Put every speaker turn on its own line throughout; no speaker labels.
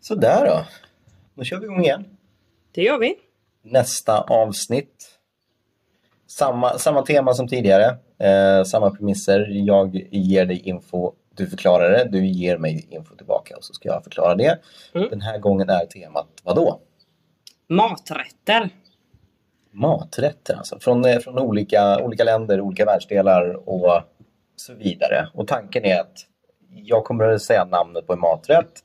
Sådär då. Då kör vi igång igen.
Det gör vi.
Nästa avsnitt. Samma, samma tema som tidigare. Eh, samma premisser. Jag ger dig info. Du förklarar det. Du ger mig info tillbaka och så ska jag förklara det.
Mm.
Den här gången är temat vadå?
Maträtter.
Maträtter alltså. Från, eh, från olika, olika länder, olika världsdelar och så vidare. Och tanken är att jag kommer att säga namnet på en maträtt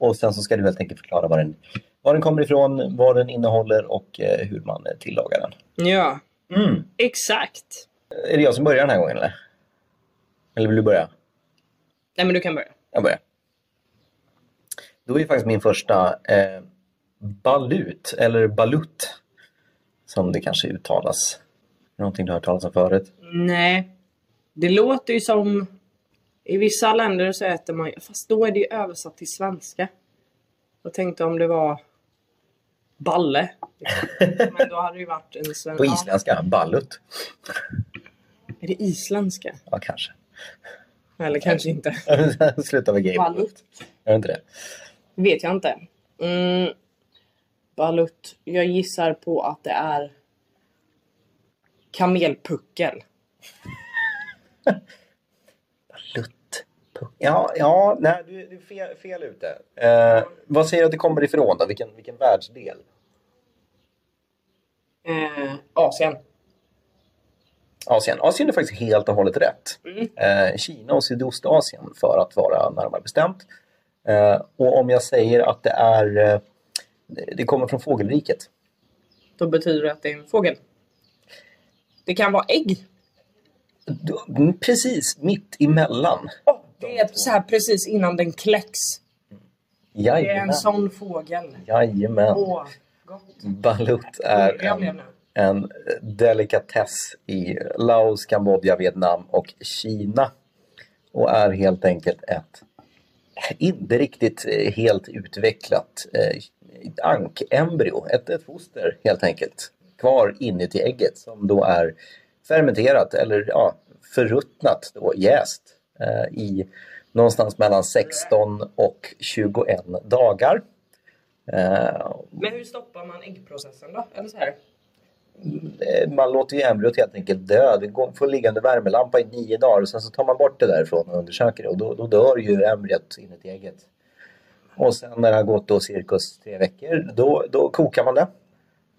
och sen så ska du helt enkelt förklara var den, var den kommer ifrån, vad den innehåller och eh, hur man eh, tillagar den.
Ja,
Mm.
exakt.
Är det jag som börjar den här gången eller? Eller vill du börja?
Nej men du kan börja.
Jag börjar. Då är faktiskt min första eh, balut, eller balut som det kanske uttalas. Någonting du har hört talas om förut?
Nej. Det låter ju som... I vissa länder så äter man ju- Fast då är det ju översatt till svenska. Jag tänkte om det var... Balle. Men då hade det ju varit en svensk...
På isländska, balut.
Ja, är det isländska?
Ja, kanske.
Eller kanske inte.
Sluta med gay.
Balut.
Är det inte det?
Vet jag inte. Mm. Balut. Jag gissar på att det är... Kamelpuckel.
Balut. Ja, ja nej, du, du är fel, fel ute. Eh, vad säger du att det kommer ifrån då? Vilken, vilken världsdel?
Eh, Asien.
Asien. Asien är faktiskt helt och hållet rätt.
Mm.
Eh, Kina och Sydostasien för att vara närmare bestämt. Eh, och om jag säger att det är... Eh, det kommer från fågelriket.
Då betyder det att det är en fågel. Det kan vara ägg.
Då- mm, precis mitt emellan.
det är så här precis innan den kläcks. Det är
Jajamän.
en sån fågel.
Jajamän.
Åh, gott.
Balut är
Jag blev
en,
nu.
en delikatess i Laos, Kambodja, Vietnam och Kina. Och är helt enkelt ett inte riktigt eh, helt utvecklat eh, ankembryo, ett, ett foster helt enkelt, kvar inuti ägget som då är fermenterat eller ja, förruttnat, då, jäst eh, i någonstans mellan 16 och 21 dagar. Eh,
Men hur stoppar man äggprocessen då? Eller så här.
Eh, man låter ju embryot helt enkelt dö. Det går- får ligga under värmelampa i nio dagar och sen så tar man bort det därifrån och undersöker det och då, då dör ju embryot inuti ägget. Och sen när det har gått då cirkus tre veckor då, då kokar man det.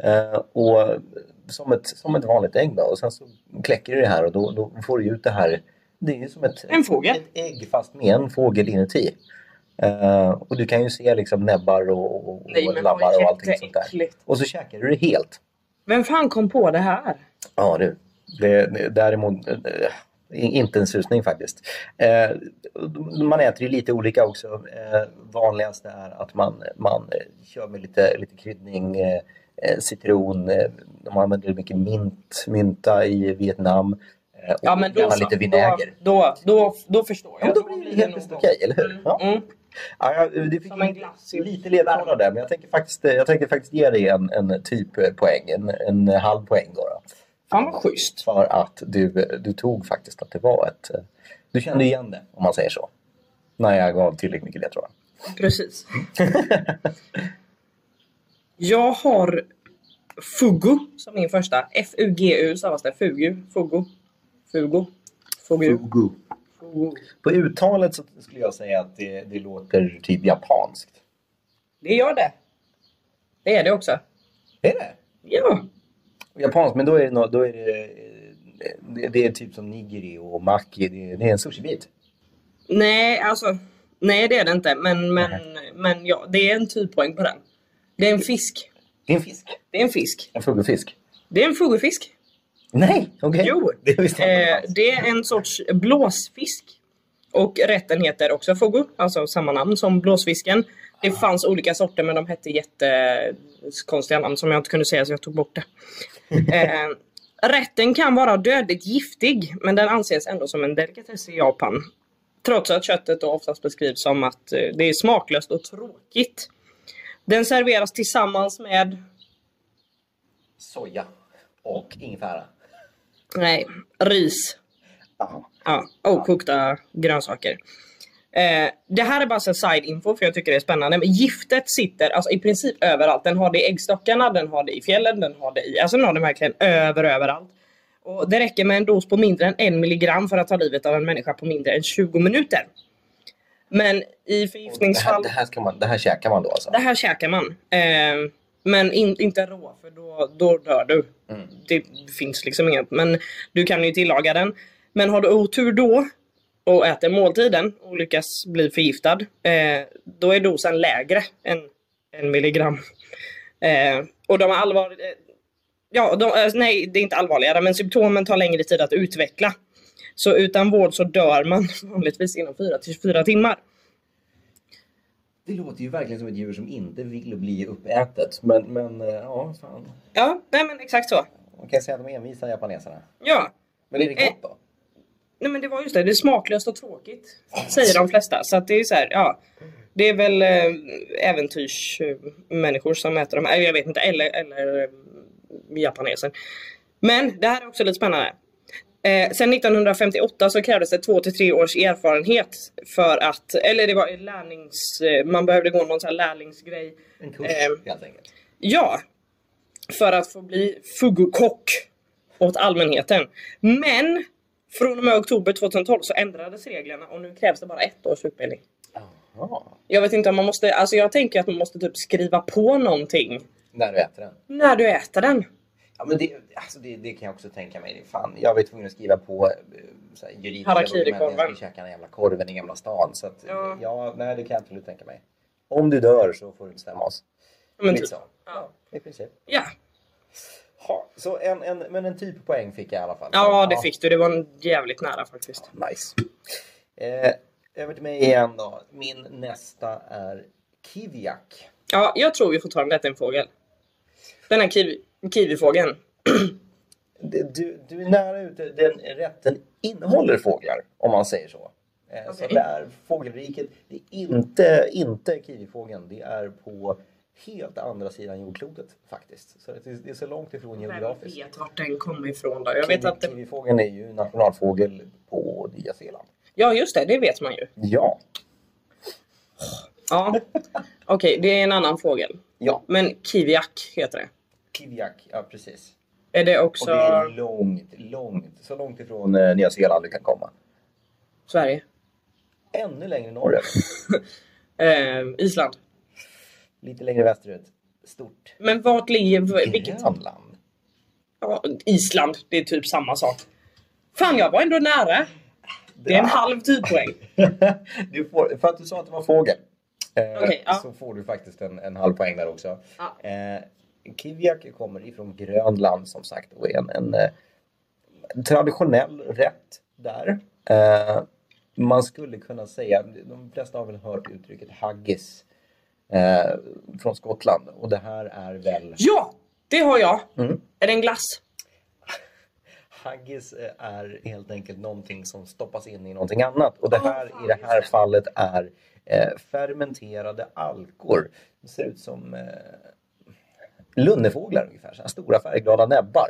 Eh, och som ett, som ett vanligt ägg då och sen så kläcker det här och då, då får du ut det här. Det är ju som ett,
En fågel.
ett ägg fast med en fågel inuti. Eh, och du kan ju se liksom näbbar och, och, och
Nej men
labbar
vad
och allting sånt där.
jätteäckligt.
Och så käkar du det helt.
Vem fan kom på det här?
Ja du, det, det, däremot eh, inte en susning faktiskt. Eh, man äter ju lite olika också. Eh, vanligast är att man, man eh, kör med lite, lite kryddning, eh, eh, citron, eh, de använder mycket mint, mynta i Vietnam eh, och
Ja men då
gärna
så.
lite vinäger.
Då, då, då, då förstår
Ja,
jag.
men då blir det helt plötsligt
nog-
okej, eller hur?
Mm,
Ja.
mm.
Ja, jag- det fick
Som en glass i
lite ledtrådar där, men jag tänker faktiskt, jag tänker faktiskt ge dig en, en typ eh, poäng, en, en halv poäng då. då.
Fan vad schysst.
För att du, du tog faktiskt att det var ett... eh, Du kände igen det, om man säger så. När jag gav tillräckligt mycket ledtrådar.
Precis. jag har Fugu som min första. F-U-G-U stavas det. Fugu. Fugu. Fugu. Fugu.
Fugu.
Fugu.
På uttalet så skulle jag säga att det, det låter typ japanskt.
Det gör det. Det är det också.
Är det?
Ja.
Japanskt, men då är det, nå- då är det, eh, det, det är typ som nigiri och maki. Det, det är en sushibit.
Nej, alltså. Nej, det är det inte. Men, men, men ja, det är en typpoäng på den. Det är en fisk.
Det är en fisk.
Det är en fisk.
En fugufisk.
Det är en fugufisk.
Nej! Okej.
Jo.
Det visste jag inte
Eh,
alls.
det är en sorts blåsfisk. Och rätten heter också fogo, alltså samma namn som blåsfisken. Det fanns olika sorter men de hette jättekonstiga namn som jag inte kunde säga så jag tog bort det. Eh, rätten kan vara dödligt giftig men den anses ändå som en delikatess i Japan. Trots att köttet då oftast beskrivs som att eh, det är smaklöst och tråkigt. Den serveras tillsammans med
Soja och ingefära.
nej, ris
Ja.
Ja, och kokta grönsaker. Eh, det här är bara så side info för jag tycker det är spännande. Men giftet sitter alltså, i princip överallt. Den har det i äggstockarna, den har det i fjällen, den har det i... Alltså den har det verkligen över, överallt. Och det räcker med en dos på mindre än en milligram för att ta livet av en människa på mindre än 20 minuter. Men i
Det här,
förgiftningsfall...
det, här ska man, det här käkar man då alltså?
Det här käkar man. Eh, men in, inte rå, för då, då dör du.
Mm.
Det finns liksom inget. Men du kan ju tillaga den. Men har du otur då och äter måltiden och lyckas bli förgiftad, eh, då är dosen lägre än en milligram. Eh, och de är allvarliga... Ja, de, eh, nej, det är inte allvarligare, men symptomen tar längre tid att utveckla. Så utan vård så dör man vanligtvis inom 4 till 24 timmar.
Det låter ju verkligen som ett djur som inte vill bli uppätet. Men, men eh, ja, fan.
Ja, nej men exakt så.
Man kan säga att de är envisa japaneserna.
Ja,
Men är det gott då?
Eh, Nej men det var just det, det är smaklöst och tråkigt. Säger de flesta. Så att det är så här, ja. Det är väl eh, äventyrsmänniskor som äter de här. Eller Jag vet inte, eller, eller eh, japaneser. Men det här är också lite spännande. Eh, sen 1958 så krävdes det två till tre års erfarenhet för att, eller det var en lärlings, eh, man behövde gå någon sån här lärlingsgrej.
En kurs
Ehm.
helt enkelt.
Ja, för att få bli fugukock åt allmänheten. Men från och med oktober 2012 så ändrades reglerna och nu krävs det bara ett års utbildning.
Jaha.
Jag vet inte om man måste, alltså jag tänker att man måste typ skriva på någonting
När du äter den.
när du äter den.
Ja, men det, alltså det, det kan jag också tänka mig. Fan, jag var ju tvungen att skriva på eh, så här, juridiska
Harakiri-korven.
dokument när jag skulle käka den jävla korven i Gamla stan. Så att,
Ja.
ja. nej, det kan jag absolut tänka mig. Om du dör så får du bestämma oss.
Men
Lite
typ,
så.
ja.
I princip.
ja.
Ha, så en, en, men en typ poäng fick jag i alla fall.
ja, det fick du. Det var en jävligt nära faktiskt.
Nice. Eh, över till mig igen då. Min nästa är Kiviak.
Ja, jag tror vi fortfarande att det är en fågel. Den här kiwi, kiwifågeln.
Det- Du, du är nära ute. Den rätten innehåller fåglar, om man säger så. Eh, Så
Okej.
det är fågelriket. Det är inte, inte kiwifågeln. Det är på helt andra sidan jordklotet faktiskt. Så det är, det är så långt ifrån
Vem
geografiskt.
vet vart den kommer ifrån då? Jag vet att det...
Kiwifågeln är ju nationalfågel på Nya Zeeland.
Ja, just det. Det vet man ju.
Ja.
Ja. Okej, det är en annan fågel.
Ja,
Men kiwiak heter det.
Kiviak. Ja, precis.
Är det
Och
också
det är långt, långt. Så långt ifrån eh, Nya Zeeland du kan komma.
Sverige?
Ännu längre norrut.
Eh, Island?
Lite längre västerut. Stort.
Men vart ligger... v- Vilket?
Grönland.
Ja, Island. Det är typ samma sak. Fan, jag var ändå nära. Det är en halv typoäng.
du får, för att du sa att det var fågel. Eh,
Okej, ja.
Så får du faktiskt en, en halv poäng där också.
Ja.
Eh, Kiviak kommer ifrån Grönland som sagt och är en, en eh, traditionell rätt där. Eh, man skulle kunna säga, de flesta har väl hört uttrycket haggis eh, från Skottland och det här är väl
Ja! Det har jag.
Mm.
Är det en glass?
Haggis eh, är helt enkelt någonting som stoppas in i någonting annat. Och det
Ah,
här
fan,
i det
just
här
det.
fallet är eh, fermenterade alkor. Det ser ut som eh, lunnefåglar ungefär, så här stora färgglada näbbar.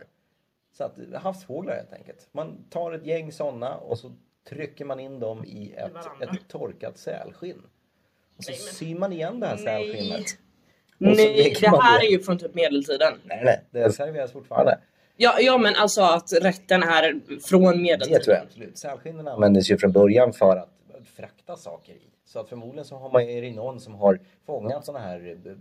Så att, havsfåglar helt enkelt. Man tar ett gäng sådana och så trycker man in dem i ett,
varandra.
ett torkat sälskinn. Och så
Nej, men-
syr man igen det här
Nej.
sälskinnet. Och så
Nej,
dricker
det
man
här
det.
är ju från typ medeltiden.
Nej, nej, det serveras fortfarande.
Ja, ja, men alltså att rätten är från medeltiden.
Det tror jag absolut. Sälskinnen användes ju från början för att frakta saker i. Så att förmodligen så har man, är det någon som har fångat sådana här eh,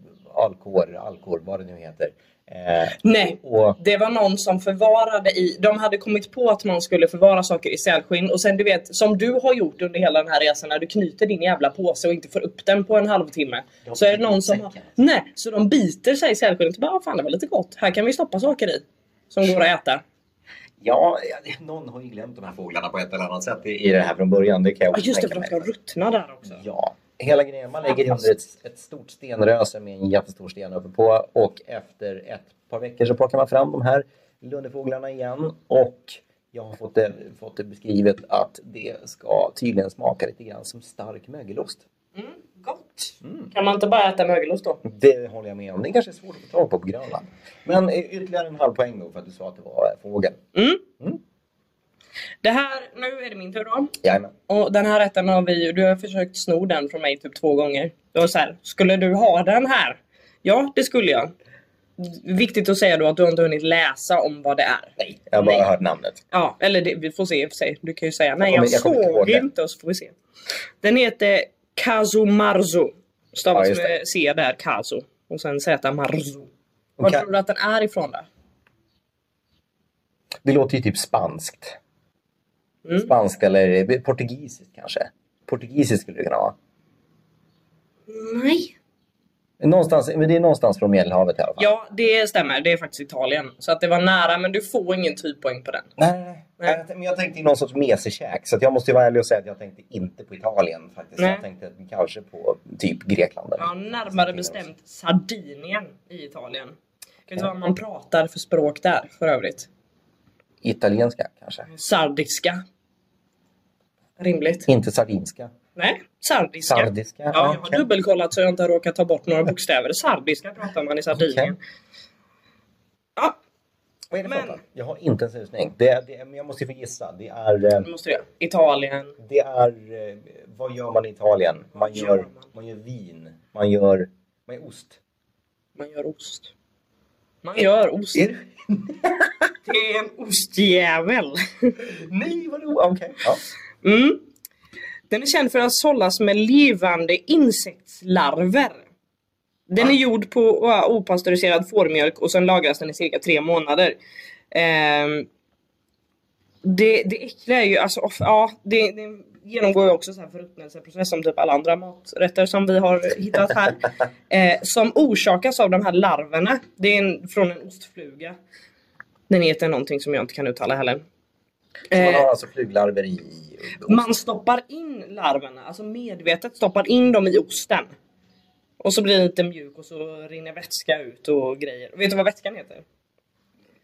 alkor, alkor, vad det nu heter. Eh,
Nej,
och
Det var någon som förvarade i, de hade kommit på att man skulle förvara saker i sälskinn och sen du vet, som du har gjort under hela den här resan när du knyter din jävla påse och inte får upp den på en halvtimme.
De
så är det
biter
någon som
säcken.
har, nej, så de biter sig i sälskinnet och bara, "Ah, fan det var lite gott, här kan vi stoppa saker i. Som går att äta.
ja, ja, någon har ju glömt de här fåglarna på ett eller annat sätt i, i det här från början. Det kan jag
Ja
också
just det, för
tänka
de ska
mig.
ruttna där också.
Ja, hela grejen. Man lägger under ett, ett stort stenröse med en jättestor sten uppe på och efter ett par veckor så plockar man fram de här lunnefåglarna igen och jag har fått det, fått det beskrivet att det ska tydligen smaka lite grann som stark mögelost.
Mm, gott.
Mm.
Kan man inte bara äta mögelost då?
Det håller jag med om. Det kanske är svårt att få tag på på Grönland. Men eh, ytterligare en halv poäng då för att du sa att det var eh, fågel.
Mm.
Mm.
Det här, nu är det min tur då.
Jajamän.
Och den här rätten har vi ju, du har försökt sno den från mig typ två gånger. Du var så här, skulle du ha den här? Ja, det skulle jag. Viktigt att säga då att du har inte hunnit läsa om vad det är.
Nej, jag har bara
Nej.
hört namnet.
Ja, eller det, vi får se i och för sig. Du kan ju säga nej,
Ja, men
jag,
jag kommer inte ihåg
såg
det.
inte och så får vi se. Den heter Kazumarzu. Stavas
Ja, just
med C där, Kazu. Och sen Z Marzu. Var
Okej.
tror du att den är ifrån då?
Det låter ju typ spanskt.
Mm.
Spanskt eller eh, portugisiskt kanske. Portugisiskt skulle det kunna vara.
Nej.
Någonstans, men det är någonstans från Medelhavet i alla fall.
Ja, det stämmer. Det är faktiskt Italien. Så att det var nära, men du får ingen typpoäng på den.
Nej, nej, nej.
Nej.
Jag tänkte- Men jag tänkte ju någon sorts mesekäk. Så att jag måste ju vara ärlig och säga att jag tänkte inte på Italien faktiskt.
Nej.
Jag tänkte kanske på typ Grekland. eller-
Ja, närmare bestämt Sardinien i Italien. Kan inte vad man pratar för språk där för övrigt.
Italienska kanske.
Sardiska. Rimligt.
Inte sardinska.
Nej, sardiska.
Sardiska.
Ja, jag har
okej.
dubbelkollat så jag inte har råkat ta bort några bokstäver. Sardiska pratar man i Sardinien. Ja,
Vad är det
Men-
men... Jag har inte en susning. Det, det, men jag måste ju få gissa. Det är, eh,
det måste jag. Italien.
det är... eh, Vad gör man i Italien? Man
Vad gör
gör,
man?
man gör vin. Man gör... Man gör ost.
Man gör ost. Man gör ost.
Är det?
Det är en ostjävel.
Nej, vad roligt! Okej. Ja.
Mm. Den är känd för att sållas med levande insektslarver. Den är gjord på uh, opastöriserad fårmjölk och sen lagras den i cirka tre månader. Ehm, det, det äckliga är ju alltså, off, ja, det, det genomgår ju också så här förruttnelseprocess som typ alla andra maträtter som vi har hittat här. eh, som orsakas av de här larverna. Det är en, från en ostfluga. Den heter någonting som jag inte kan uttala heller.
Så man
Eh,
har alltså fluglarver i... ost.
man stoppar in larverna, alltså medvetet stoppar in dem i osten. Och så blir den lite mjuk och så rinner vätska ut och grejer. Vet du vad vätskan heter?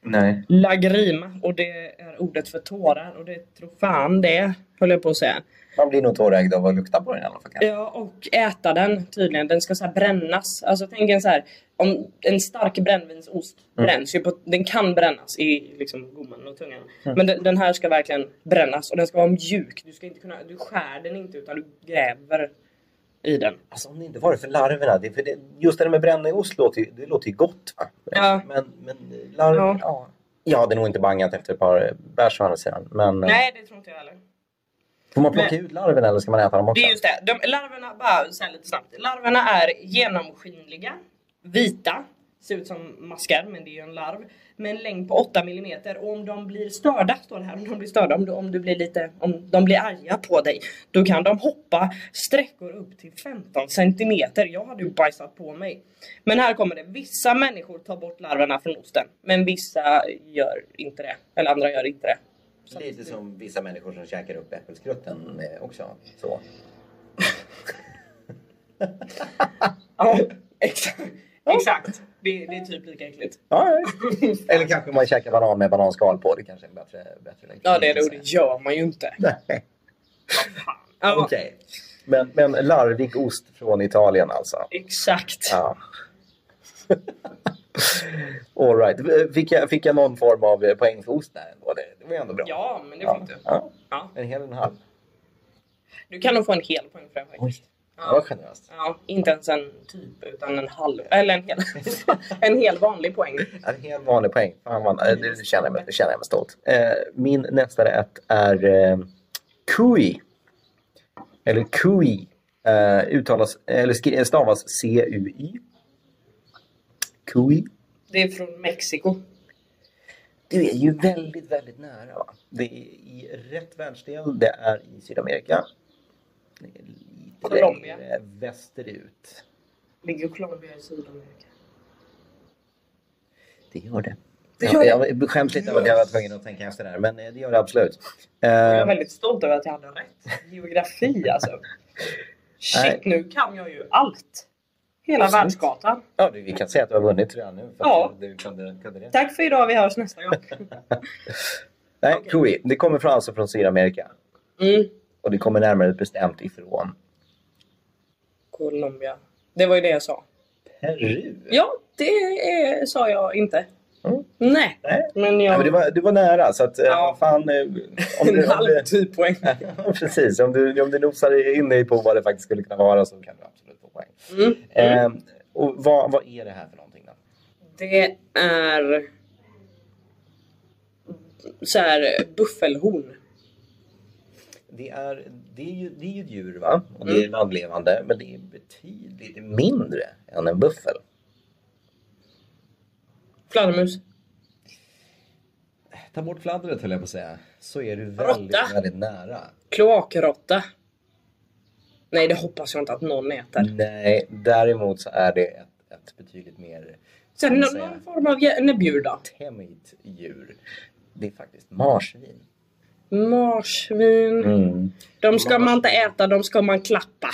Nej.
Lagrima och det är ordet för tårar och det tror fan det höll jag på att säga.
Man blir nog tårögd av att lukta på den i alla fall. kanske.
Ja och äta den tydligen, den ska så här brännas. Alltså tänk en så här, om en stark brännvinsost bränns ju på, den kan brännas i liksom gommen och tungan. Men den, den här ska verkligen brännas och den ska vara mjuk. Du ska inte kunna, du skär den inte utan du gräver i den.
Alltså om det inte var det för larverna. Det, är för det, just det där med bränna i ost låter ju, det låter ju gott. Va?
Ja.
Men, men larver...
Ja.
Ja. ja. Jag hade nog inte bangat efter ett par eh, bärs å andra sidan. Men eh,
Nej det tror inte jag heller.
får man plocka ut larverna eller ska man äta dem också?
Det är just det. De, larverna, bara så här lite snabbt. Larverna är genomskinliga, vita, ser ut som maskar men det är ju en larv. Med en längd på 8 mm och om de blir störda, står det här, om de blir störda, om, du, om, du blir lite, om de blir arga på dig, då kan de hoppa sträckor upp till 15 centimeter. Jag hade ju bajsat på mig. Men här kommer det. Vissa människor tar bort larverna från osten, men vissa gör inte det. Eller andra gör inte det.
Lite som vissa människor som käkar upp äppelskrutten eh, också. Så.
Ja, exakt. exakt. Det, det är typ lika äckligt.
Ja, ja. eller kanske man käkar banan med bananskal på. Det kanske är en bättre, bättre
Ja, det är det. Och det gör man ju inte.
Nej.
Ja,
Okej. Men, men larvig ost från Italien alltså?
Exakt.
Ja. All right. Fick jag, fick jag någon form av eh, poäng för ost där ändå? Det, det var ju ändå bra.
Ja, men det
Ja.
fick du.
Ja.
Ja.
En hel och en halv.
Du kan nog få en hel poäng för det
Oj,
faktiskt.
det var generöst.
Ja, inte ens en typ, utan en halv. Eller en hel, en hel vanlig poäng.
En hel vanlig poäng. Fan, man, eh, det känner jag mig, det känner jag mig stolt. Eh, min nästa rätt är eh, Kui. Eller Kui. Eh, uttalas, eller skri- stavas C-U-Y. Kui.
Det är från Mexiko.
Du är ju väldigt, väldigt nära. Va? Det är i rätt världsdel. Det är i Sydamerika. Det är lite
Colombia.
längre västerut.
Ligger Colombia i Sydamerika?
Det gör det.
Det gör
jag, jag skäms lite över att jag var tvungen att tänka efter där, men eh, det gör det absolut. Eh,
Jag är väldigt stolt över att jag hade rätt. Geografi alltså.
Nej.
Shit, nu kan jag ju allt. Hela
Absolut.
världskartan.
ja, du, vi kan säga att du har vunnit redan nu. För
Ja.
att du, du kunde, kunde det.
Tack för idag, vi hörs nästa gång.
Nej,
Okej.
Kui. Det kommer från, alltså från Sydamerika
Mm.
och det kommer närmare bestämt ifrån
Colombia. Det var ju det jag sa.
Peru.
Ja, det eh, sa jag inte. Nej,
Nej.
men
Nej,
jag...
men det, var, det var nära, så att, eh,
Ja.
fan, eh, om,
en
du, om,
halv
du,
typoäng.
Ja, Precis, om du, om du nosar in dig på vad det faktiskt skulle kunna vara så kan du absolut få poäng.
Mm.
Eh, och vad, vad är det här för någonting då?
Det är... Så här, eh, buffelhorn.
Det är, det är, ju, det är ju ett djur va? Och det
Mm.
är landlevande, men det är betydligt mindre än en buffel.
Fladdermus.
Ta bort fladdret höll jag på att säga, så är du väldigt,
Råtta.
väldigt nära.
Kloakråtta. Nej, det hoppas jag inte att någon
Mm.
äter.
Nej, däremot så är det ett, ett betydligt mer
Så här,
vad
nå-
ska man
någon form av jä- näbbdjur
säga, tämjt djur. Det är faktiskt marsvin.
Marsvin.
Mm.
De ska man inte äta, de ska man klappa.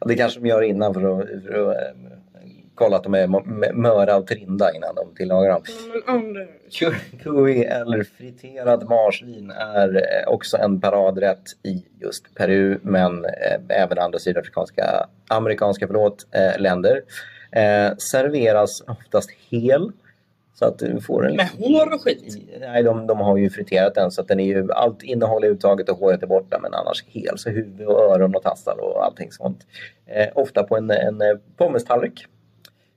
Ja, Det kanske de gör innan för att, för att eh, kolla att de är mo- m- möra och trinda innan de tillagar dem.
Men om du-
Curry eller friterad marsvin är eh, också en paradrätt i just Peru men eh, även andra sydafrikanska, amerikanska förlåt, eh, länder. Eh, serveras oftast hel. Så att du får en...
Med hår och skit.
I- Nej, de, de har ju friterat den så att den är ju, allt innehåll är uttaget och håret är borta men annars hel. Så huvud och öron och tassar och allting sånt. Eh, ofta på en, en eh, pommes-tallrik.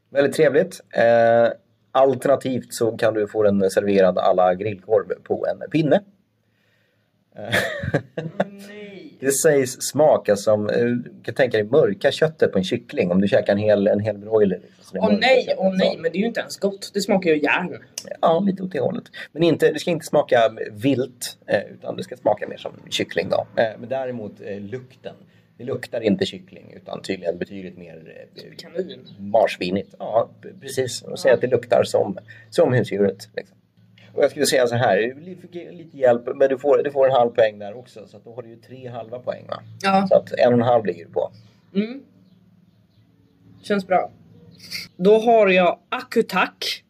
Väldigt trevligt. Eh, alternativt så kan du få den serverad alla grillkorv på en pinne. Mm.
Nej.
Det sägs smaka som, eh, du kan tänka dig mörka köttet på en kyckling om du käkar en hel, en hel broiler. liksom, så det är
Åh
mörka
nej,
köttet
åh nej,
som-
men det är ju inte ens gott. Det smakar ju järn.
Ja, lite åt det hållet. Men inte, det ska inte smaka vilt, eh, utan det ska smaka mer som kyckling. Då. Eh, Men däremot eh, lukten. Det luktar inte kyckling, utan tydligen betydligt mer eh,
Kanin.
marsvinigt. Ja, p- precis. Och säga att det luktar som, som husdjuret. Liksom. Och jag skulle säga så här, du fick lite hjälp, men du får, du får en halv poäng där också. Så att då har du ju tre halva poäng. Va?
Ja.
Så att en och en halv ligger du på.
Mm. Känns bra. Då har jag akutak.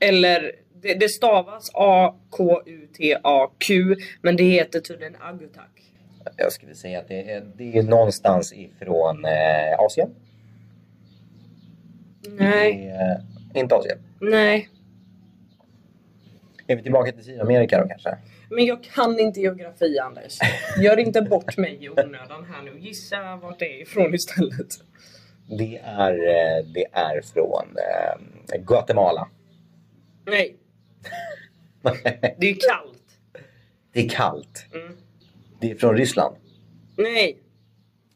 Eller det, det stavas A-K-U-T-A-Q. Men det heter tydligen agutak.
Jag skulle säga att det är, det är någonstans ifrån eh, Asien.
Nej,
Eh, inte Asien.
nej.
Är vi tillbaka till Sydamerika då kanske?
Men jag kan inte geografi Anders. Gör inte bort mig i onödan här nu. Gissa vart det är ifrån istället.
Det är, eh, det är från eh, Guatemala.
Nej, det är kallt.
det är kallt.
Mm.
Det är från Ryssland.
Nej.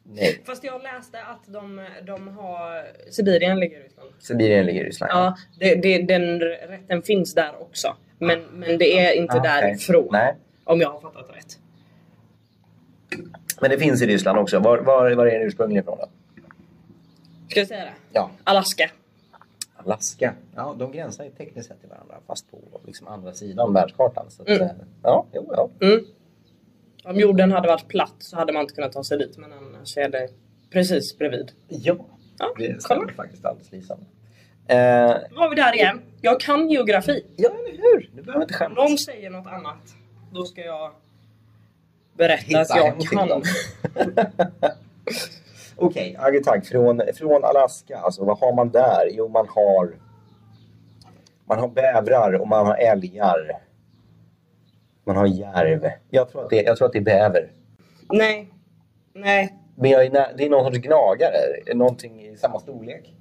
Nej.
Fast jag läste att de, de har... Sibirien ligger i Ryssland.
Sibirien ligger i Ryssland.
Ja, det, det, den rätten finns där också. Men, men det är inte
Ah, okej.
därifrån.
Nej.
Om jag har fattat rätt.
Men det finns i Ryssland också. Var, var, var är den ursprungligen ifrån då?
Ska jag säga det?
Ja,
Alaska.
Alaska. Ja, de gränsar ju tekniskt sett till varandra fast på liksom andra sidan världskartan. Så att,
Mm.
eh, ja, jo, ja.
Mm. Om jorden hade varit platt så hade man inte kunnat ta sig dit. Men annars är det precis bredvid.
ja,
Ja,
det
kolla.
stämmer faktiskt alldeles lysande. Eh,
Då var vi där igen. Jag kan geografi.
ja, eller hur? Du behöver inte
Om
skämmas.
någon säger något annat, då ska jag berätta
Hitta
att jag
hem till
kan.
dem. Okej, Agutak, från, från Alaska, alltså, vad har man där? Jo, man har, man har bävrar och man har älgar. Man har järv. Jag tror att det, jag tror att det är bäver.
Nej. Nej.
Men jag är nä, det är någon sorts gnagare, någonting i samma storlek.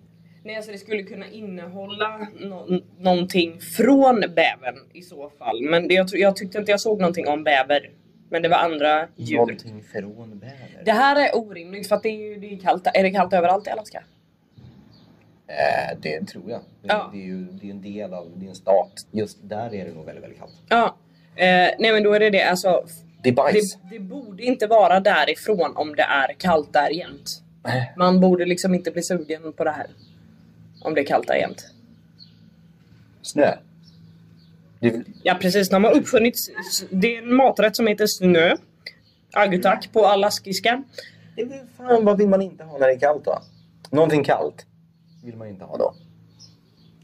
Nej, alltså det skulle kunna innehålla no- någonting från bävern i så fall. Men det, jag, tro- jag tyckte inte jag såg någonting om bäver. Men det var andra djur.
Någonting från bäver.
Det här är orimligt för att det är ju det är kallt. Är det kallt överallt i Alaska?
Eh, det tror jag. Det,
Ja.
det är ju det är en del av, det är en stat. Just där är det nog väldigt, väldigt kallt.
Ja. Eh, nej men då är det det. Alltså,
Det är
det,
bajs.
det borde inte vara därifrån om det är kallt där jämt. Man borde liksom inte bli sugen på det här. Om det är kallt där jämt.
Snö. Det,
Ja precis, de har uppfunnit... Det är en maträtt som heter snö. Agutak på alaskiska.
Det är väl Fan, vad vill man inte ha när det är kallt då? Någonting kallt vill man inte ha då.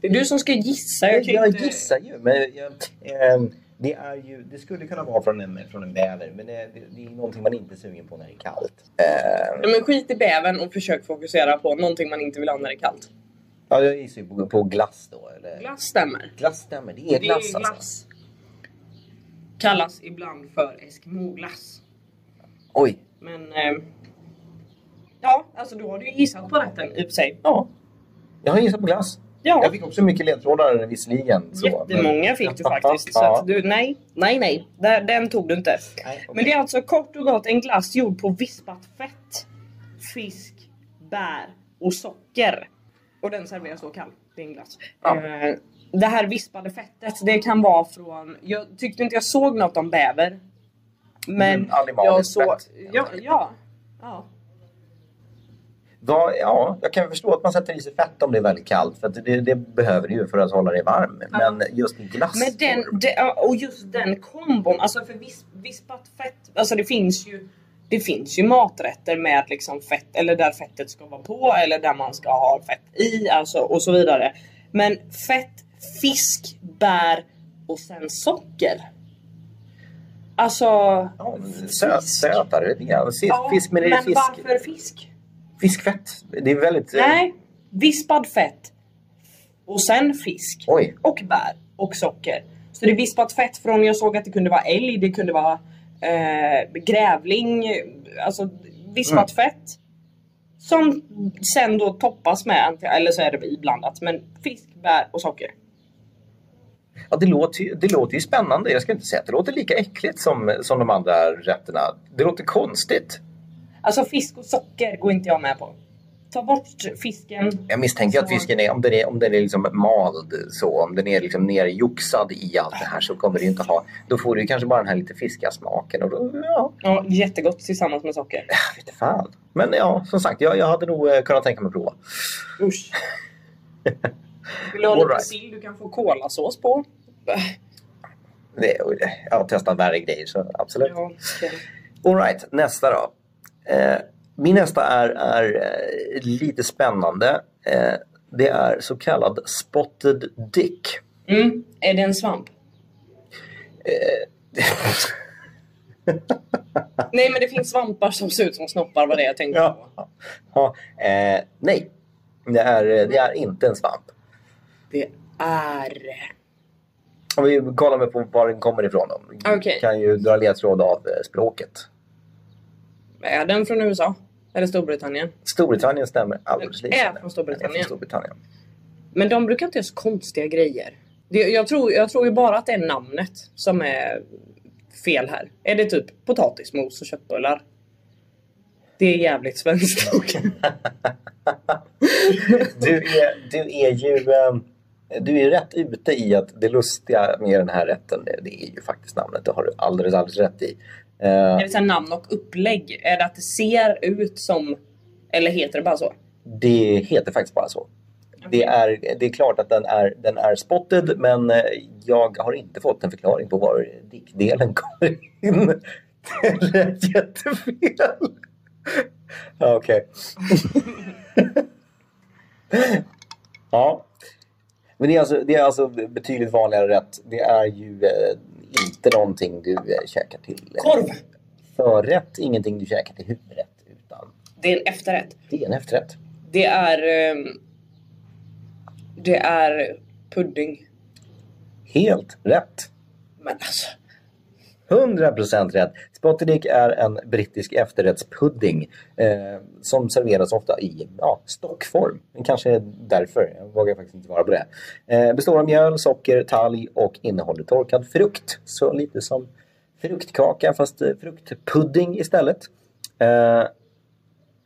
Det är du som ska gissa.
Jag,
kan
jag
inte-
gissar ju, men jag, ehm, det, är ju, det skulle kunna vara från en, från en bäver, men det, det, det är någonting man inte är sugen på när det är kallt. Ehm,
Nej, Men skit i bäven och försök fokusera på någonting man inte vill ha när det är kallt.
Ja, jag gissar ju på, på glass då. Eller?
Glass stämmer.
Glass stämmer, det är
Det
glass,
är
alltså.
glass. Kallas ibland för Eskimo-glass.
Oj,
Men... Eh, ja, alltså då har du ju gissat på rätten i och för sig.
ja. Jag har gissat på glass.
Ja,
Jag fick också mycket ledtrådar visserligen. Så,
jättemånga fick du faktiskt. Så
Ja.
att du, nej, nej, nej. Där, den tog du inte.
Nej, okej.
Men det är alltså kort och gott en glass gjord på vispat fett, fisk, bär och socker. Och den serveras då kall. Det är en glass.
Ja.
Eh, Det här vispade fettet, det kan vara från... Jag tyckte inte jag såg något om bäver. Men
Mm, animaliskt
jag såg...
fett.
Ja, ja, ja.
Då, ja, jag kan förstå att man sätter i sig fett om det är väldigt kallt. För att det, det behöver du ju för att hålla dig varm.
Ja.
Men just i glass.
Men den, de, ja, och just den kombon, alltså för vis, vispat fett, alltså det finns ju det finns ju maträtter med liksom fett, eller där fettet ska vara på, eller där man ska ha fett i, alltså och så vidare. Men fett, fisk, bär och sen socker. Alltså...
Ja, söt, sötare lite grann. Fisk,
Ja,
fisk men det är
men
fisk.
varför fisk?
Fiskfett. Det är väldigt... eh,
Nej, vispad fett och sen fisk.
Oj.
och bär och socker. Så det är vispat fett från, jag såg att det kunde vara älg, det kunde vara eh, grävling, alltså vispat fett. Som sen då toppas med, eller så är det iblandat, men fisk, bär och socker.
Ja, det, låter, ju- det låter ju spännande. Jag ska inte säga att det låter lika äckligt som, som de andra rätterna. Det låter konstigt.
Alltså fisk och socker går inte jag med på. Ta bort fisken.
Jag misstänker att
Så-
fisken är, om den är, om den är liksom mald så, om den är liksom nerjoxad i allt det här så kommer det ju inte ha, då får du ju kanske bara den här lite fiskiga smaken och då, ja,
Ja, jättegott tillsammans med socker.
jag vet inte fan. Men ja, som sagt, jag, jag hade nog eh, kunnat tänka mig att prova.
Usch. Vill du ha lite
All right.
sill du kan få kolasås på?
Det, jag har testat värre grejer så absolut.
Ja, okej.
Alright, nästa då. Eh, min nästa är, är eh, lite spännande. Eh, det är så kallad spotted dick.
mm. Är det en svamp? Nej men det finns svampar som ser ut som snoppar var det jag tänkte på.
ja. Ja, eh, nej, det är, eh, det är inte en svamp.
Det är...
Om vi kollar med på var den kommer ifrån då. Vi
Okej.
kan ju dra ledtråd av eh, språket.
Är den från USA? Eller Storbritannien?
Storbritannien stämmer alldeles
Den
lysande.
är från Storbritannien.
Den är från Storbritannien.
Men de brukar inte göra så konstiga grejer. Det, jag, tror, jag tror ju bara att det är namnet som är fel här. Är det typ potatismos och köttbullar? Det är jävligt svenskt.
Du är, du är ju ehm, du är rätt ute i att det lustiga med den här rätten, det det är ju faktiskt namnet. Det har du alldeles, alldeles rätt i. Eh,
är det så här namn och upplägg? Är det att det ser ut som... Eller heter det bara så?
Det heter faktiskt bara så. Det är, det är klart att den är, den är spotted, men eh, jag har inte fått en förklaring på var dickdelen kommer in. Det lät jättefel. Ja, Okej. ja. Men det är, alltså, det är alltså betydligt vanligare rätt. Det är ju eh, inte någonting du eh, käkar till eh,
Korv!
förrätt, ingenting du käkar till huvudrätt, utan
Det är en efterrätt.
det är en efterrätt.
Det är... ehm, Det är pudding.
Helt rätt.
Men alltså...
100% rätt. Spottedick är en brittisk efterrättspudding eh, som serveras ofta i ja, stockform. Men Kanske är därför, jag vågar faktiskt inte svara på det. Eh, består av mjöl, socker, talg och innehåller torkad frukt. Så lite som fruktkaka fast eh, fruktpudding istället. Eh,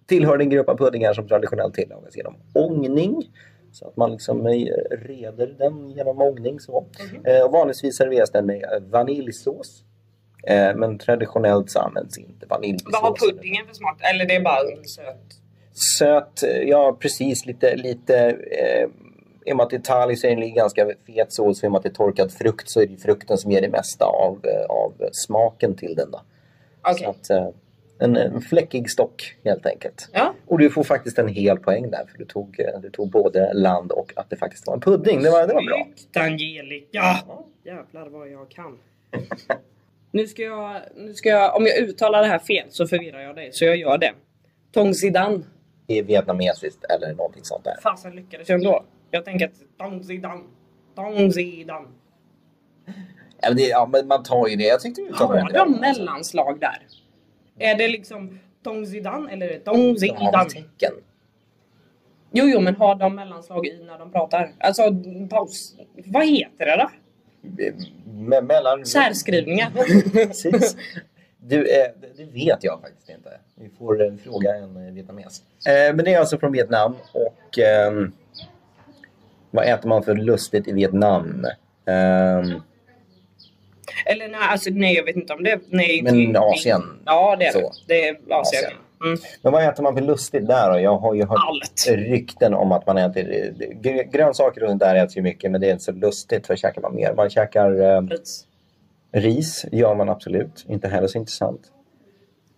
tillhör den grupp av puddingar som traditionellt tillagas genom ångning. Så att man liksom eh, reder den genom ångning. Så.
Mhm.
Eh, och vanligtvis serveras den med eh, vaniljsås. Eh, men traditionellt så används inte vaniljsås.
Vad har puddingen för smak? Eller det är bara en söt...
Söt, eh, ja precis lite, lite eh, i och med att det är talg så är det en ganska fet sås. I och med att det är torkad frukt så är det ju frukten som ger det mesta av, eh, av smaken till den. Då.
Okej.
Så att, eh, en, en fläckig stock helt enkelt.
Ja.
Och du får faktiskt en hel poäng där för du tog, eh, du tog både land och att det faktiskt var en pudding. Det var, det var bra.
Snyggt Angelica! Jävlar vad jag kan. nu ska jag... Nu ska jag... Om jag uttalar det här fel så förvirrar jag dig. Så jag gör det. Tong Zidane.
Det är vietnamesiskt eller någonting sånt där.
Fasen lyckades jag ändå. Jag tänker att Dongzidan. Dongzidan.
Ja, men det, ja, men man tar ju det. Jag tyckte vi tar
Har
det.
de mellanslag där? Är det liksom Dongzidan eller är det Dongzidan?
De har väl tecken.
Jo, jo, men har de mellanslag i när de pratar? Alltså, paus. Vad heter det då?
Me- mellan...
Särskrivningar.
Precis. Du, eh, det vet jag faktiskt inte. Vi får eh, fråga en eh, vietnames. Eh, men det är alltså från Vietnam och ehm, vad äter man för lustigt i Vietnam? Ehm,
Eller nej, alltså, nej, jag vet inte om det. Nej,
Men
det-
Asien.
Ja, det är det.
Så.
Det är Asien.
Asien.
Mm.
men vad äter man för lustigt där då? Jag har ju hört
Allt.
rykten om att man äter eh, gr- grönsaker och sånt där äts ju mycket men det är inte så lustigt för käkar man mer. Man käkar eh,
Precis.
ris, gör man absolut. Inte heller så intressant.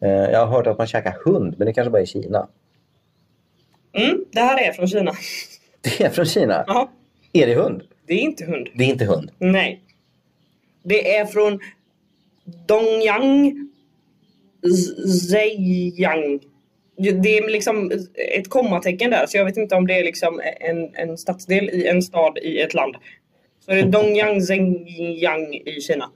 Eh, jag har hört att man käkar hund men det kanske bara är i Kina.
Mm, det här är från Kina.
Det är från Kina.
Ja,
Är det hund?
det är inte hund.
Det är inte hund.
Nej. Det är från Dongyang Z- Zhejiang. Det är liksom ett kommatecken där, så jag vet inte om det är liksom en, en stadsdel i en stad i ett land. Så det är Dongyang Zhejiang i Kina.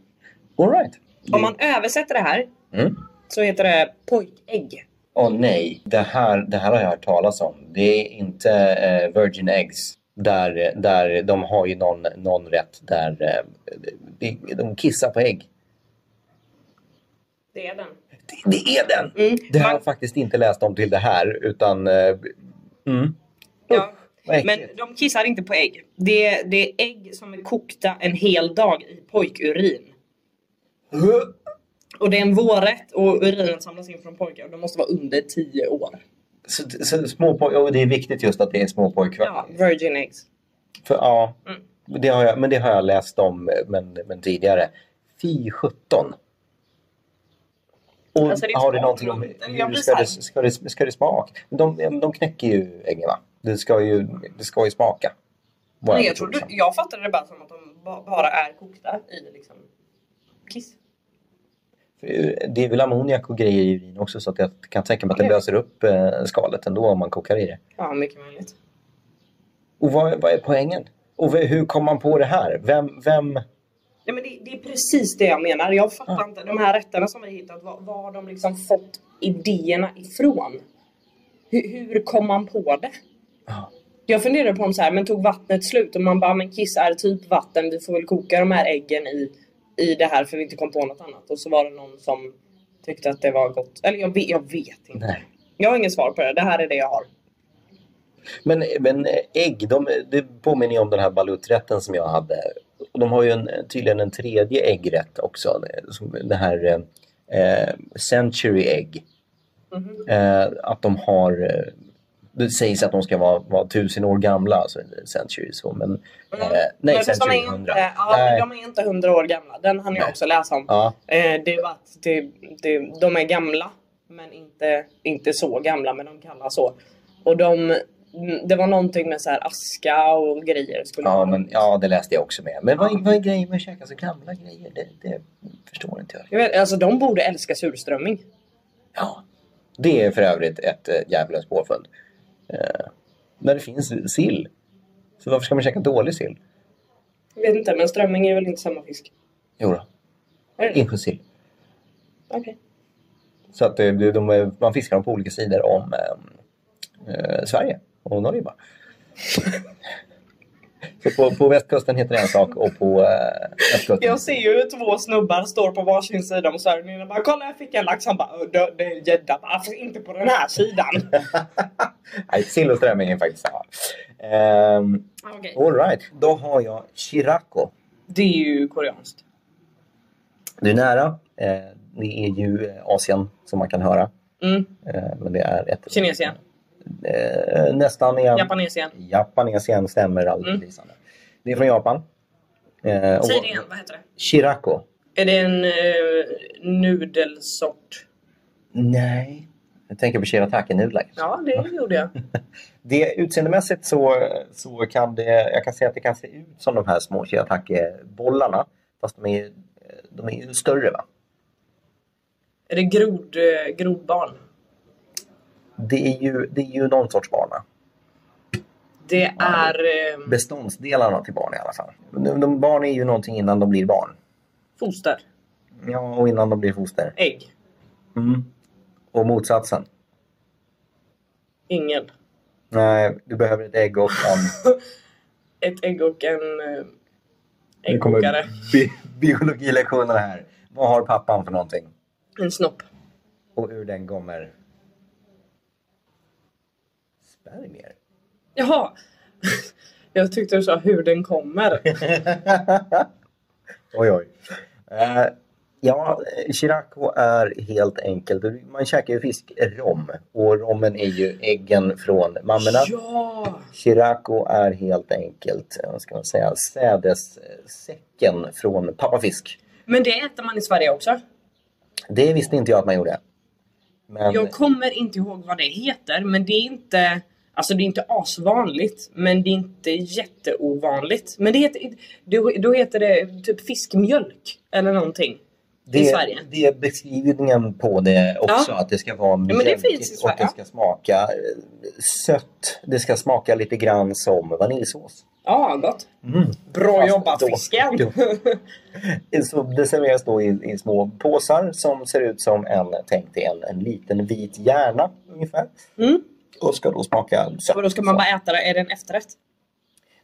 All right.
Om man översätter det här
Mm.
så heter det pojkägg.
Åh nej, det här, det här har jag hört talas om. Det är inte eh, Virgin Eggs. Där, eh, där de har ju någon, någon rätt där eh, de- de kissar på ägg.
Det är den.
Det, det är den!
Mm.
Det har
Man-
jag faktiskt inte läst om till det här utan... Eh, mm,
ja.
vad äckligt.
Men de kissar inte på ägg. Det är, det är ägg som är kokta en hel dag i pojkurin. Och det är en vårrätt och urinen samlas in från pojkar. De måste vara under 10 år.
Så, så, små poj- och det är viktigt just att det är små pojkar.
Ja, virgin eggs.
För, ja,
Mm.
det har jag, men det har jag läst om eh, men, men tidigare. Fy 17. Och
Alltså, det är
har det
smak,
någonting om
men- jag
hur
blir
ska det,
stark.
ska, det, ska det smaka? De, de knäcker ju äggen va? Det ska ju, det ska ju smaka. Vad liksom.
Nej, jag,
förstod
trodde,
det som.
jag fattade det bara som att de ba- bara är kokta i liksom kiss.
För Det är väl ammoniak och grejer i urin också så att jag kan tänka mig att det
Okej.
löser upp eh, skalet ändå om man kokar i det.
Ja, mycket möjligt.
Och vad, vad är poängen? Och v- hur kom man på det här? Vem, vem?
Nej, men det, det är precis det jag menar. Jag fattar inte de här rätterna som vi har hittat. Var, var har de liksom fått idéerna ifrån? Hur, hur kom man på det?
Ja.
Jag funderade på om så här, men tog vattnet slut? Och man bara, men kiss är typ vatten. Vi får väl koka de här äggen i, i det här för vi inte kom på något annat. Och så var det någon som tyckte att det var gott. Eller jag vet, jag vet inte.
Nej.
Jag har inget svar på det. Det här är det jag har.
Men, men ägg, de, det påminner ju om den här baluträtten som jag hade. Och De har ju en, tydligen en tredje äggrätt också. Som det här eh, century egg.
Mhm.
Eh, att de har... eh, Det sägs att de ska vara, vara tusen år gamla, alltså century så. Men,
Mm.
eh, nej,
Men fast de,
century
är inte,
hundra.
ja, men
Nej.
de är inte hundra år gamla. Den hann jag
Nej.
också läsa om.
Ja,
Eh, det är bara att det, det, de är gamla, men inte, inte så gamla, men de kallas så. Och de, det var någonting med så här aska och grejer. Skulle
ja,
vara.
men, ja, det läste jag också med. Men vad, är- vad är grejen med att käka så gamla grejer? Det, det förstår inte jag.
jag vet, alltså, de borde älska surströmming.
Ja. Det är för övrigt ett eh, djävulens påfund. Eh, när det finns sill. Så varför ska man käka dålig sill?
Jag vet inte, men strömming är väl inte samma fisk?
Jo då,
Är det det?
insjösill.
Okej.
Så att eh, de, de, man fiskar dem på olika sidor om eh, eh, Sverige och Norge bara. Så på, på västkusten heter det en sak och på eh, östkusten...
Jag ser ju hur två snubbar står på varsin sida om Sverige. Den ena bara “Kolla, jag fick en lax”. Han bara "Ö, det- “Det är en gädda”. Bara, "Fast Inte på den här sidan.
Nej, sill och strömming är faktiskt samma. Um,
Ah, Okej.
all right, då har jag Chirako.
Det är ju koreanskt.
Du är nära. Eh, det är ju eh, Asien som man kan höra.
Mm.
Eh, Men det är ett...
Kinesien.
Eh, nästan igen.
Japanesien.
Japanesien stämmer alldeles
Mm.
lysande. Det är från Japan. Eh, och-
Säg det igen, vad heter det?
Shirako.
Är det en eh, nudelsort?
Nej. Jag tänker på shirataki-nudlar.
Ja, det gjorde jag.
Det Utseendemässigt så, så kan det, jag kan säga att det kan se ut som de här små shirataki-bollarna. Fast de är, de är ju större va?
Är det grod, eh, grodbarn?
Det är ju, det är ju någon sorts bana.
Det är... eh,
Beståndsdelarna till barn i alla fall. De, de, barn är ju någonting innan de blir barn.
Foster.
Ja, och innan de blir foster.
Ägg.
Mm. Och motsatsen.
Ingen.
Nej, du behöver ett ägg och en...
Ett ägg och en eh,
Nu kommer
äggkokare.
bi- biologilektionerna här. Vad har pappan för någonting?
En snopp.
Och ur den kommer... Spermier?
Jaha! Jag tyckte du sa hur den kommer.
oj, oj. Eh, ja, Chiraco är helt enkelt... Man käkar ju fiskrom och rommen är ju äggen från mammorna.
Ja!
Chiraco är helt enkelt, eh, vad ska man säga, sädessäcken från pappafisk.
Men det äter man i Sverige också.
Det visste inte jag att man gjorde. Men
Jag kommer inte ihåg vad det heter, men det är inte... Alltså det är inte asvanligt, men det är inte jätteovanligt. Men det heter, då, då heter det typ fiskmjölk eller någonting. i Sverige.
det är beskrivningen på det också,
Ja.
att det ska vara
det
mjölkigt
finns i Sverige.
och det ska smaka eh, sött. Det ska smaka lite grann som vaniljsås.
Ja, gott.
Mm.
Bra
Fast
jobbat
då-
fisken!
då- Så det serveras då i, i små påsar som ser ut som en, tänk dig en, en liten vit hjärna ungefär.
Mm.
Och ska då smaka sött.
Och då ska man bara äta det. Är det en efterrätt?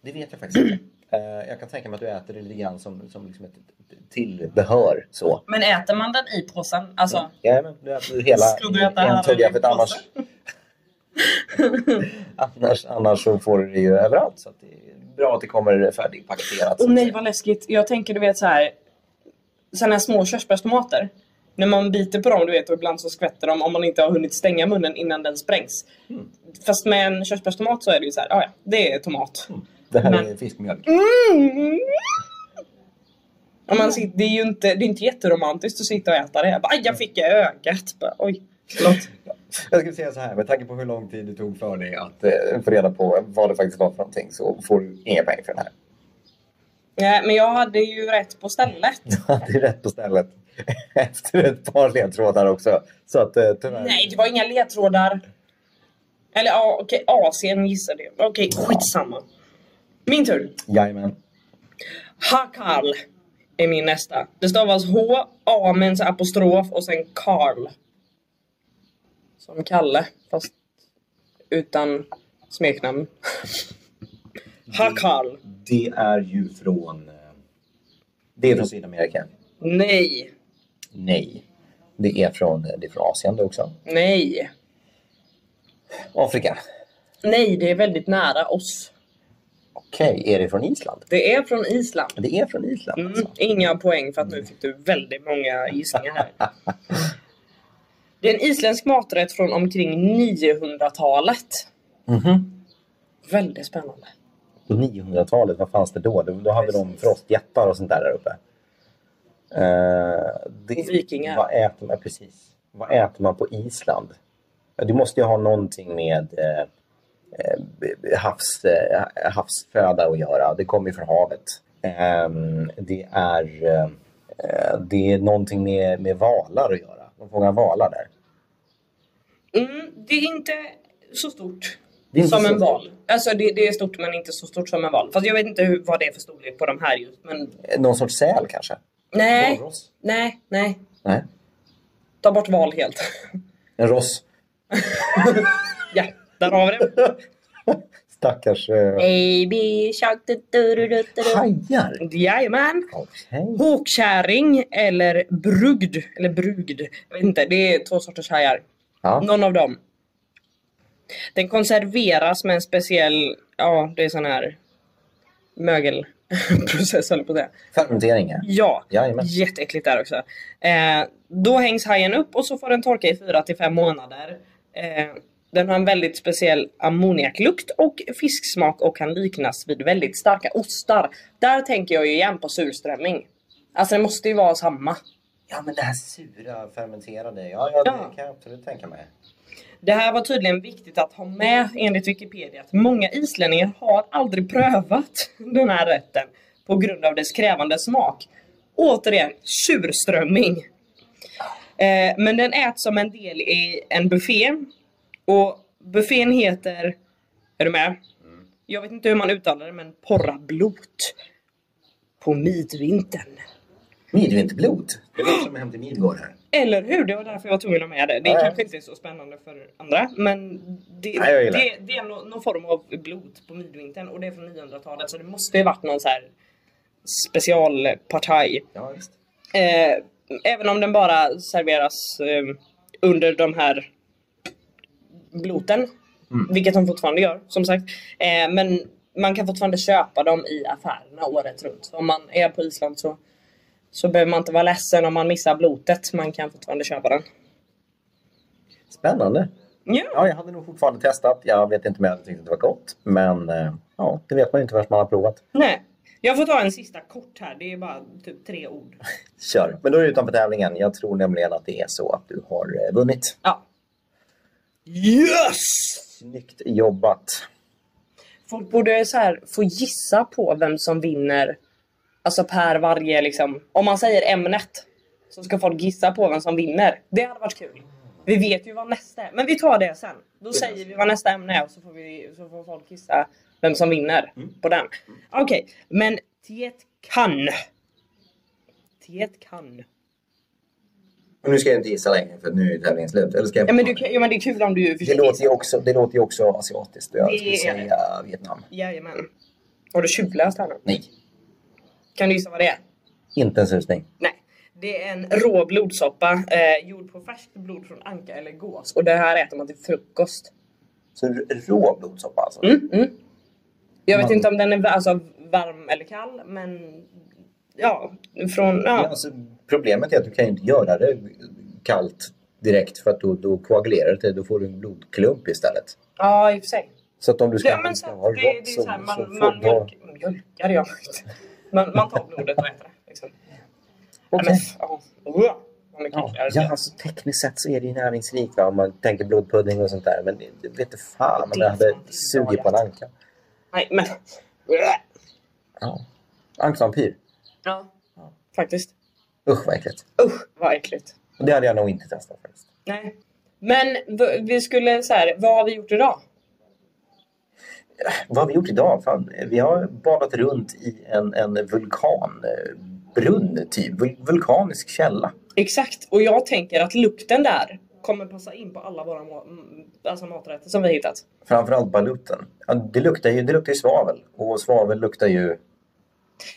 Det vet jag faktiskt inte. Eh, jag kan tänka mig att du äter det lite grann som, som liksom ett ett tillbehör. Så.
Men äter man den i påsen? Alltså,
Jajamän, du äter hela
Ska du äta
en
här
tugga
eller
för att
en
annars, annars, annars så får du det ju överallt. Så att det är bra att det kommer färdigpaketerat.
Åh nej vad typ läskigt. Jag tänker du vet så här. Såna här små körsbärstomater. När man biter på dem du vet och ibland så skvätter de om man inte har hunnit stänga munnen innan den sprängs. Fast med en körsbärstomat så är det ju så här, "Ah, ja det är tomat.
det här är
men-
fiskmjölk.
Mm. Om man sitter, det är ju inte, det är inte jätteromantiskt att sitta och äta det. Jag bara, "Aj, jag fick i ögat. Bara, Oj, förlåt.
Jag skulle säga så här, med tanke på hur lång tid det tog för dig att eh, få reda på vad det faktiskt var för någonting så får du inga pengar för den här.
Nej, men jag hade ju rätt på stället.
det är rätt på stället. Efter ett par ledtrådar också. Så att eh, tyvärr.
Nej, det var inga ledtrådar. Eller ja, okej, Asien gissade jag. Okej, skitsamma. Min tur.
Jajamän.
Hakal är min nästa. Det stavas H, A med en så här apostrof och sen Karl. Som Kalle, fast utan smeknamn. Hakal.
Det är ju från... eh, Det är från Sydamerika.
Nej.
Nej. Det är från, eh, det är från Asien det också.
Nej.
Afrika.
Nej, det är väldigt nära oss.
Okej, är det från Island?
Det är från Island.
Det är från Island
Mm,
alltså.
inga poäng för att nu fick du väldigt många gissningar här. Det är en isländsk maträtt från omkring 900-talet.
Mhm.
Väldigt spännande.
På 900-talet, vad fanns det då? Då, då hade de
Precis.
frostjättar och sånt där där uppe. Eh, det,
Och vikingar.
Vad äter man, precis. Vad äter man på Island? Ja, Det måste ju ha någonting med eh, eh, b- b- havs, eh, havsföda att göra. Det kommer ju från havet. Ehm, det är eh, eh, det är någonting med, med valar att göra. De fångar valar där.
Mm, det är inte så stort
Det är inte
som
så
en val. Alltså det, det är stort men inte så stort som en val. Fast jag vet inte hur, vad det är för storlek på de här just. Men
Eh, Någon sorts säl kanske?
nej,
Valross?
nej, nej.
Nej,
Ta bort val helt.
en ross.
ja, där har vi det.
Stackars eh,
Baby shark. du- du- du- du- du- du.
hajar.
Jajamän.
Okej.
Håkkärring eller brugd, eller brugd, jag vet inte, det är två sorters hajar.
Ja.
Någon av dem. Den konserveras med en speciell, ja det är sån här mögelprocess höll jag på att säga.
Fermenteringar.
Ja,
Jajamän.
jätteäckligt där också. Eh, då hängs hajen upp och så får den torka i 4 till 5 månader. Eh, den har en väldigt speciell ammoniaklukt och fisksmak och kan liknas vid väldigt starka ostar. Där tänker jag ju igen på surströmming. Alltså det måste ju vara samma.
Ja, men det här sura fermenterade. Ja, ja,
Ja.
det kan jag absolut tänka mig.
Det här var tydligen viktigt att ha med enligt Wikipedia att många islänningar har aldrig prövat den här rätten på grund av dess krävande smak. Återigen, surströmming. Eh, men den äts som en del i en buffé och buffén heter, är du med? Jag vet inte hur man uttalar det men porrablot. På midvintern.
Midvinterblod. Det var som hem till Midgård här.
Eller hur? Det var därför jag var tvungen att ha med det. Det
Ja.
kanske inte är så spännande för andra men det,
Nej, jag gillar
det, det är nå- någon form av blod på midvintern och det är från 900-talet så det måste ju varit någon så här specialpartaj.
Ja, just.
Eh, även om den bara serveras eh, under de här bloten.
Mm.
Vilket de fortfarande gör som sagt. Eh, men man kan fortfarande köpa dem i affärerna året runt. Så om man är på Island så, så behöver man inte vara ledsen om man missar blotet. Man kan fortfarande köpa den.
Spännande.
Ja,
Ja, jag hade nog fortfarande testat. Jag vet inte om jag hade tyckt att det var gott. Men eh, ja, det vet man ju inte förrän man har provat.
nej. Jag får ta en sista kort här. Det är bara typ tre ord.
Kör. Men då är du utanför tävlingen. Jag tror nämligen att det är så att du har eh, vunnit.
Ja. Yes!
Snyggt jobbat.
Folk borde så här, få gissa på vem som vinner. Alltså per varje liksom. Om man säger ämnet. Så ska folk gissa på vem som vinner. Det hade varit kul. Vi vet ju vad nästa är. Men vi tar det sen. Då säger vi vad nästa ämne är och så får, vi, så får folk gissa vem som vinner på den. Okej, men Tiet kan. Tiet kan.
Men nu ska jag inte gissa längre för nu är tävlingen slut. Eller ska jag...
Ja men, du, kan- ja, men det är kul om du
det,
försöker
låter
gissa.
ju också, det låter ju också asiatiskt. Jag
Det
skulle
är det.
säga Vietnam.
Jajamän. Har du tjuvläst här nu?
Nej,
Kan du gissa vad det är?
inte en susning.
Nej. Det är en rå blodsoppa eh, gjord på färskt blod från anka eller gås. Och det här äter man till frukost.
Så r- rå blodsoppa alltså?
Mm, mm. Jag vet
Man-
inte om den är va- alltså, varm eller kall, men ja, från...
Ja,
Ja.
alltså, problemet är att du kan ju inte göra det kallt direkt för att då, då koagulerar det. Då får du en blodklump istället.
ja, i och för sig.
Så att om du ska,
Ja, men så,
ska
att det, det är så här,
så
man,
får-
man
då-
mjölk, mjölkar jag man, man tar blodet och äter det. Liksom.
Okej.
Ja, men, f- ja. Uah, vad mycket
Ja,
äckligare det
ja,
är.
alltså tekniskt sett så är det ju näringsrikt va? om man tänker blodpudding och sånt där. Men det- det vet du fan om
Det är
det hade
fan inte
sugit
dåligt.
på en anka.
Nej, men...
Ja. Ankvampyr.
Ja. Faktiskt.
Usch vad äckligt.
Usch, vad äckligt.
Det hade jag nog inte testat faktiskt.
Nej. Men v- vi skulle så här, vad har vi gjort idag?
Vad har vi gjort idag? Fan, vi har badat runt i en, en vulkanbrunn, typ. Vul- Vulkanisk källa.
Exakt, och jag tänker att lukten där kommer passa in på alla våra ma- m- alltså maträtter som vi har hittat.
Framförallt balutten. Ja, det, luktar ju, det luktar ju svavel. Och svavel luktar ju...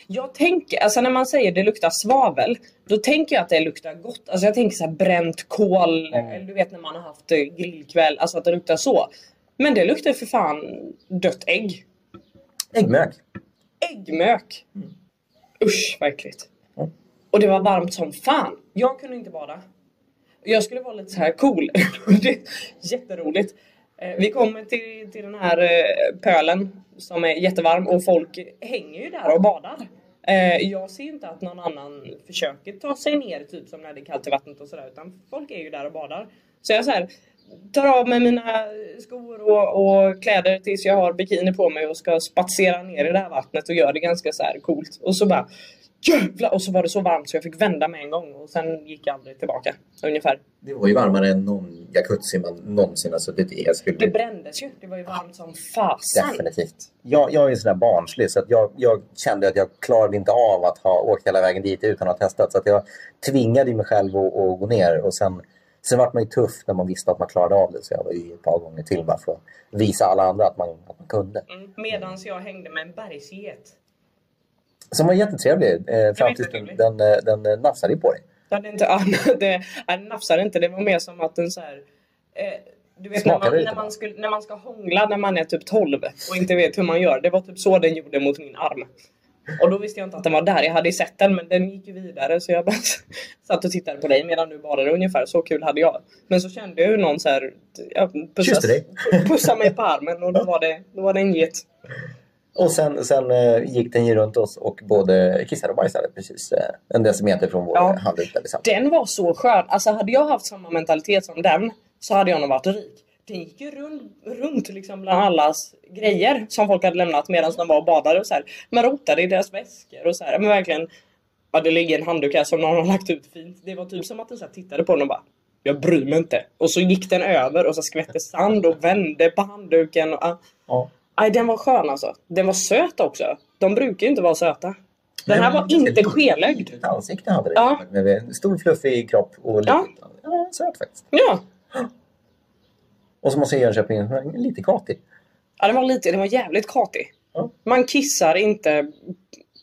Jag tänker, alltså när man säger det luktar svavel, då tänker jag att det luktar gott. Alltså jag tänker så här bränt kol,
Mm.
eller du vet när man har haft eh, grillkväll, alltså att det luktar så. Men det luktar för fan dött ägg.
Äggmök.
Äggmök! Usch vad äckligt.
Mm.
Och det var varmt som fan. Jag kunde inte bada. Jag skulle vara lite så här cool. det är jätteroligt. Eh, Vi kommer till, till den här eh, pölen som är jättevarm och folk hänger ju där och badar. Eh, Jag ser ju inte att någon annan försöker ta sig ner typ som när det är kallt i vattnet och sådär utan folk är ju där och badar. Så jag så här, tar av mig mina skor och, och kläder tills jag har bikini på mig och ska spatsera ner i det här vattnet och gör det ganska så här coolt. Och så bara jävlar! Och så var det så varmt så jag fick vända mig en gång och sen gick jag aldrig tillbaka. Ungefär.
Det var ju varmare än någon jacuzzi man någonsin har suttit i. Jag skulle
Det brändes ju. Det var ju varmt som fasen.
Definitivt. Jag, jag är en sån där barnslig så att jag, jag kände att jag klarade inte av att ha åkt hela vägen dit utan att ha testat. Så att jag tvingade ju mig själv att, att gå ner. Och sen, sen var man ju tuff när man visste att man klarade av det. Så jag var ju ett par gånger till bara för att visa alla andra att man, att man kunde.
Mm. Medan jag hängde med en bergsget.
Som var jättetrevlig eh, fram tills den,
jättetrevlig.
den, eh, den eh, nafsade ju på dig.
Det hade inte, ja, det, ja, det nafsade inte. Det var mer som att den så här... Eh, du vet när
Smakade
man,
lite
när,
bara.
man skulle, när man ska hångla när man är typ 12 och inte vet hur man gör. Det var typ så den gjorde mot min arm. Och då visste jag inte att den var där. Jag hade ju sett den men den gick ju vidare så jag bara satt och tittade på dig medan du badade ungefär. Så kul hade jag. Men så kände jag hur någon så här, ja,
Kysste
pussade,
dig.
pussade mig på armen och då var det, då var det en get.
Och sen, sen eh, gick den ju runt oss och både kissade och bajsade precis eh, en decimeter från vår
Ja.
ja. handduk. där vi satt.
Den var så skön. Alltså hade jag haft samma mentalitet som den så hade jag nog varit rik. Den gick ju rund, runt liksom bland allas grejer som folk hade lämnat medan de var och badade och så här. Man rotade i deras väskor och så här. Men verkligen. Ja, det ligger en handduk här som någon har lagt ut fint. Det var typ som att den så här tittade på den och bara jag bryr mig inte. Och så gick den över och så skvätte sand och vände på handduken. Och, ah,
Ja.
Aj, den var skön alltså. Den var söt också. De brukar ju inte vara söta. Den här var inte skelögd.
Ett ansikte hade den.
Ja.
Med en stor fluffig kropp och lite...
Ja.
Ja, söt faktiskt.
Ja.
Och så måste jag Jönköping, lite katig.
ja, den var lite, den var jävligt katig.
Ja.
Man kissar inte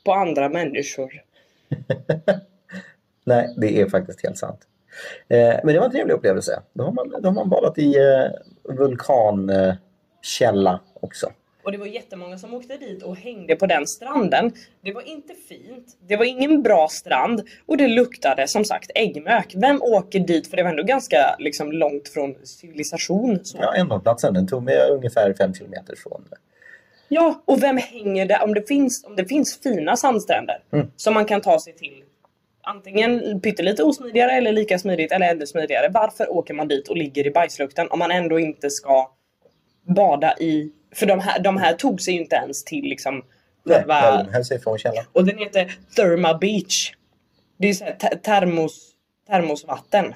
på andra människor.
Nej, det är faktiskt helt sant. Eh, men det var en trevlig upplevelse. Då har man, då har man badat i eh, vulkankälla eh, källa också.
Och det var jättemånga som åkte dit och hängde på den stranden. Det var inte fint. Det var ingen bra strand. Och det luktade som sagt äggmök. Vem åker dit? För det var ändå ganska liksom, långt från civilisation. Så.
Ja, NH-platsen, den tog mig ungefär fem kilometer från eh,
Ja, och vem hänger där? Om det finns, om det finns fina sandstränder
Mm.
som man kan ta sig till. Antingen pyttelite osmidigare eller lika smidigt eller ännu smidigare. Varför åker man dit och ligger i bajslukten om man ändå inte ska bada i... För de här, de här tog sig ju inte ens till liksom
Nej,
själva-
de höll sig ifrån källan.
Och den heter Therma Beach. Det är så här te- termos, termosvatten.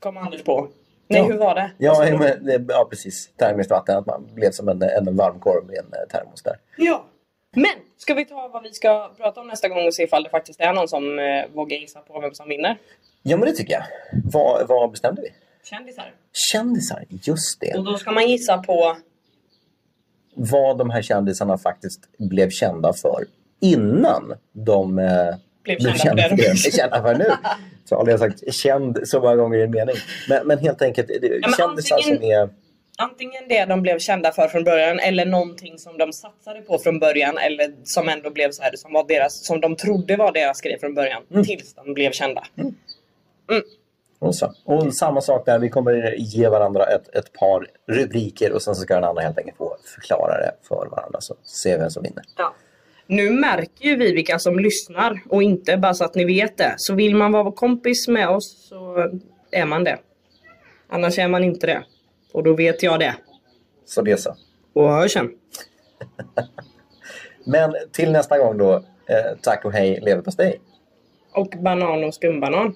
Kom Anders på. Nej,
Ja.
hur var det?
Ja,
Alltså,
men, det- ja, precis. Termiskt vatten, att man blev som en, en varmkorv i en eh, termos där.
Ja. Men ska vi ta vad vi ska prata om nästa gång och se ifall det faktiskt är någon som eh, vågar gissa på vem som vinner?
Ja, men det tycker jag. Vad, vad bestämde vi?
Kändisar.
Kändisar, just det.
Och då ska man gissa på...
Vad de här kändisarna faktiskt blev kända för innan de eh,
Blev
blev
kända
kända
för
för
det.
det de är kända för nu. Så har jag sagt känd så många gånger i en mening. Men, men helt enkelt, det,
men
kändisar
antingen-
som är...
Antingen det de blev kända för från början eller någonting som de satsade på från början eller som ändå blev så här som, var deras, som de trodde var deras grej från början tills de blev kända.
Och, så. och samma sak där, vi kommer ge varandra ett, ett par rubriker och sen så ska den andra helt enkelt få förklara det för varandra så ser vi vem som vinner.
Ja. Nu märker ju vi vilka som lyssnar och inte, bara så att ni vet det. Så vill man vara kompis med oss så är man det. Annars är man inte det. Och då vet jag det.
Så det så.
Och hör sen.
Men till nästa gång då, eh, tack och hej leverpastej.
Och banan och skumbanan.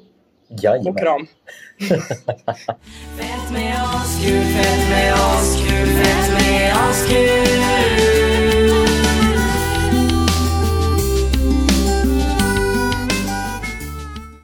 Jajamän.
Och kram.
Fett med oss, kul, fett med oss, kul, fett med oss, kul.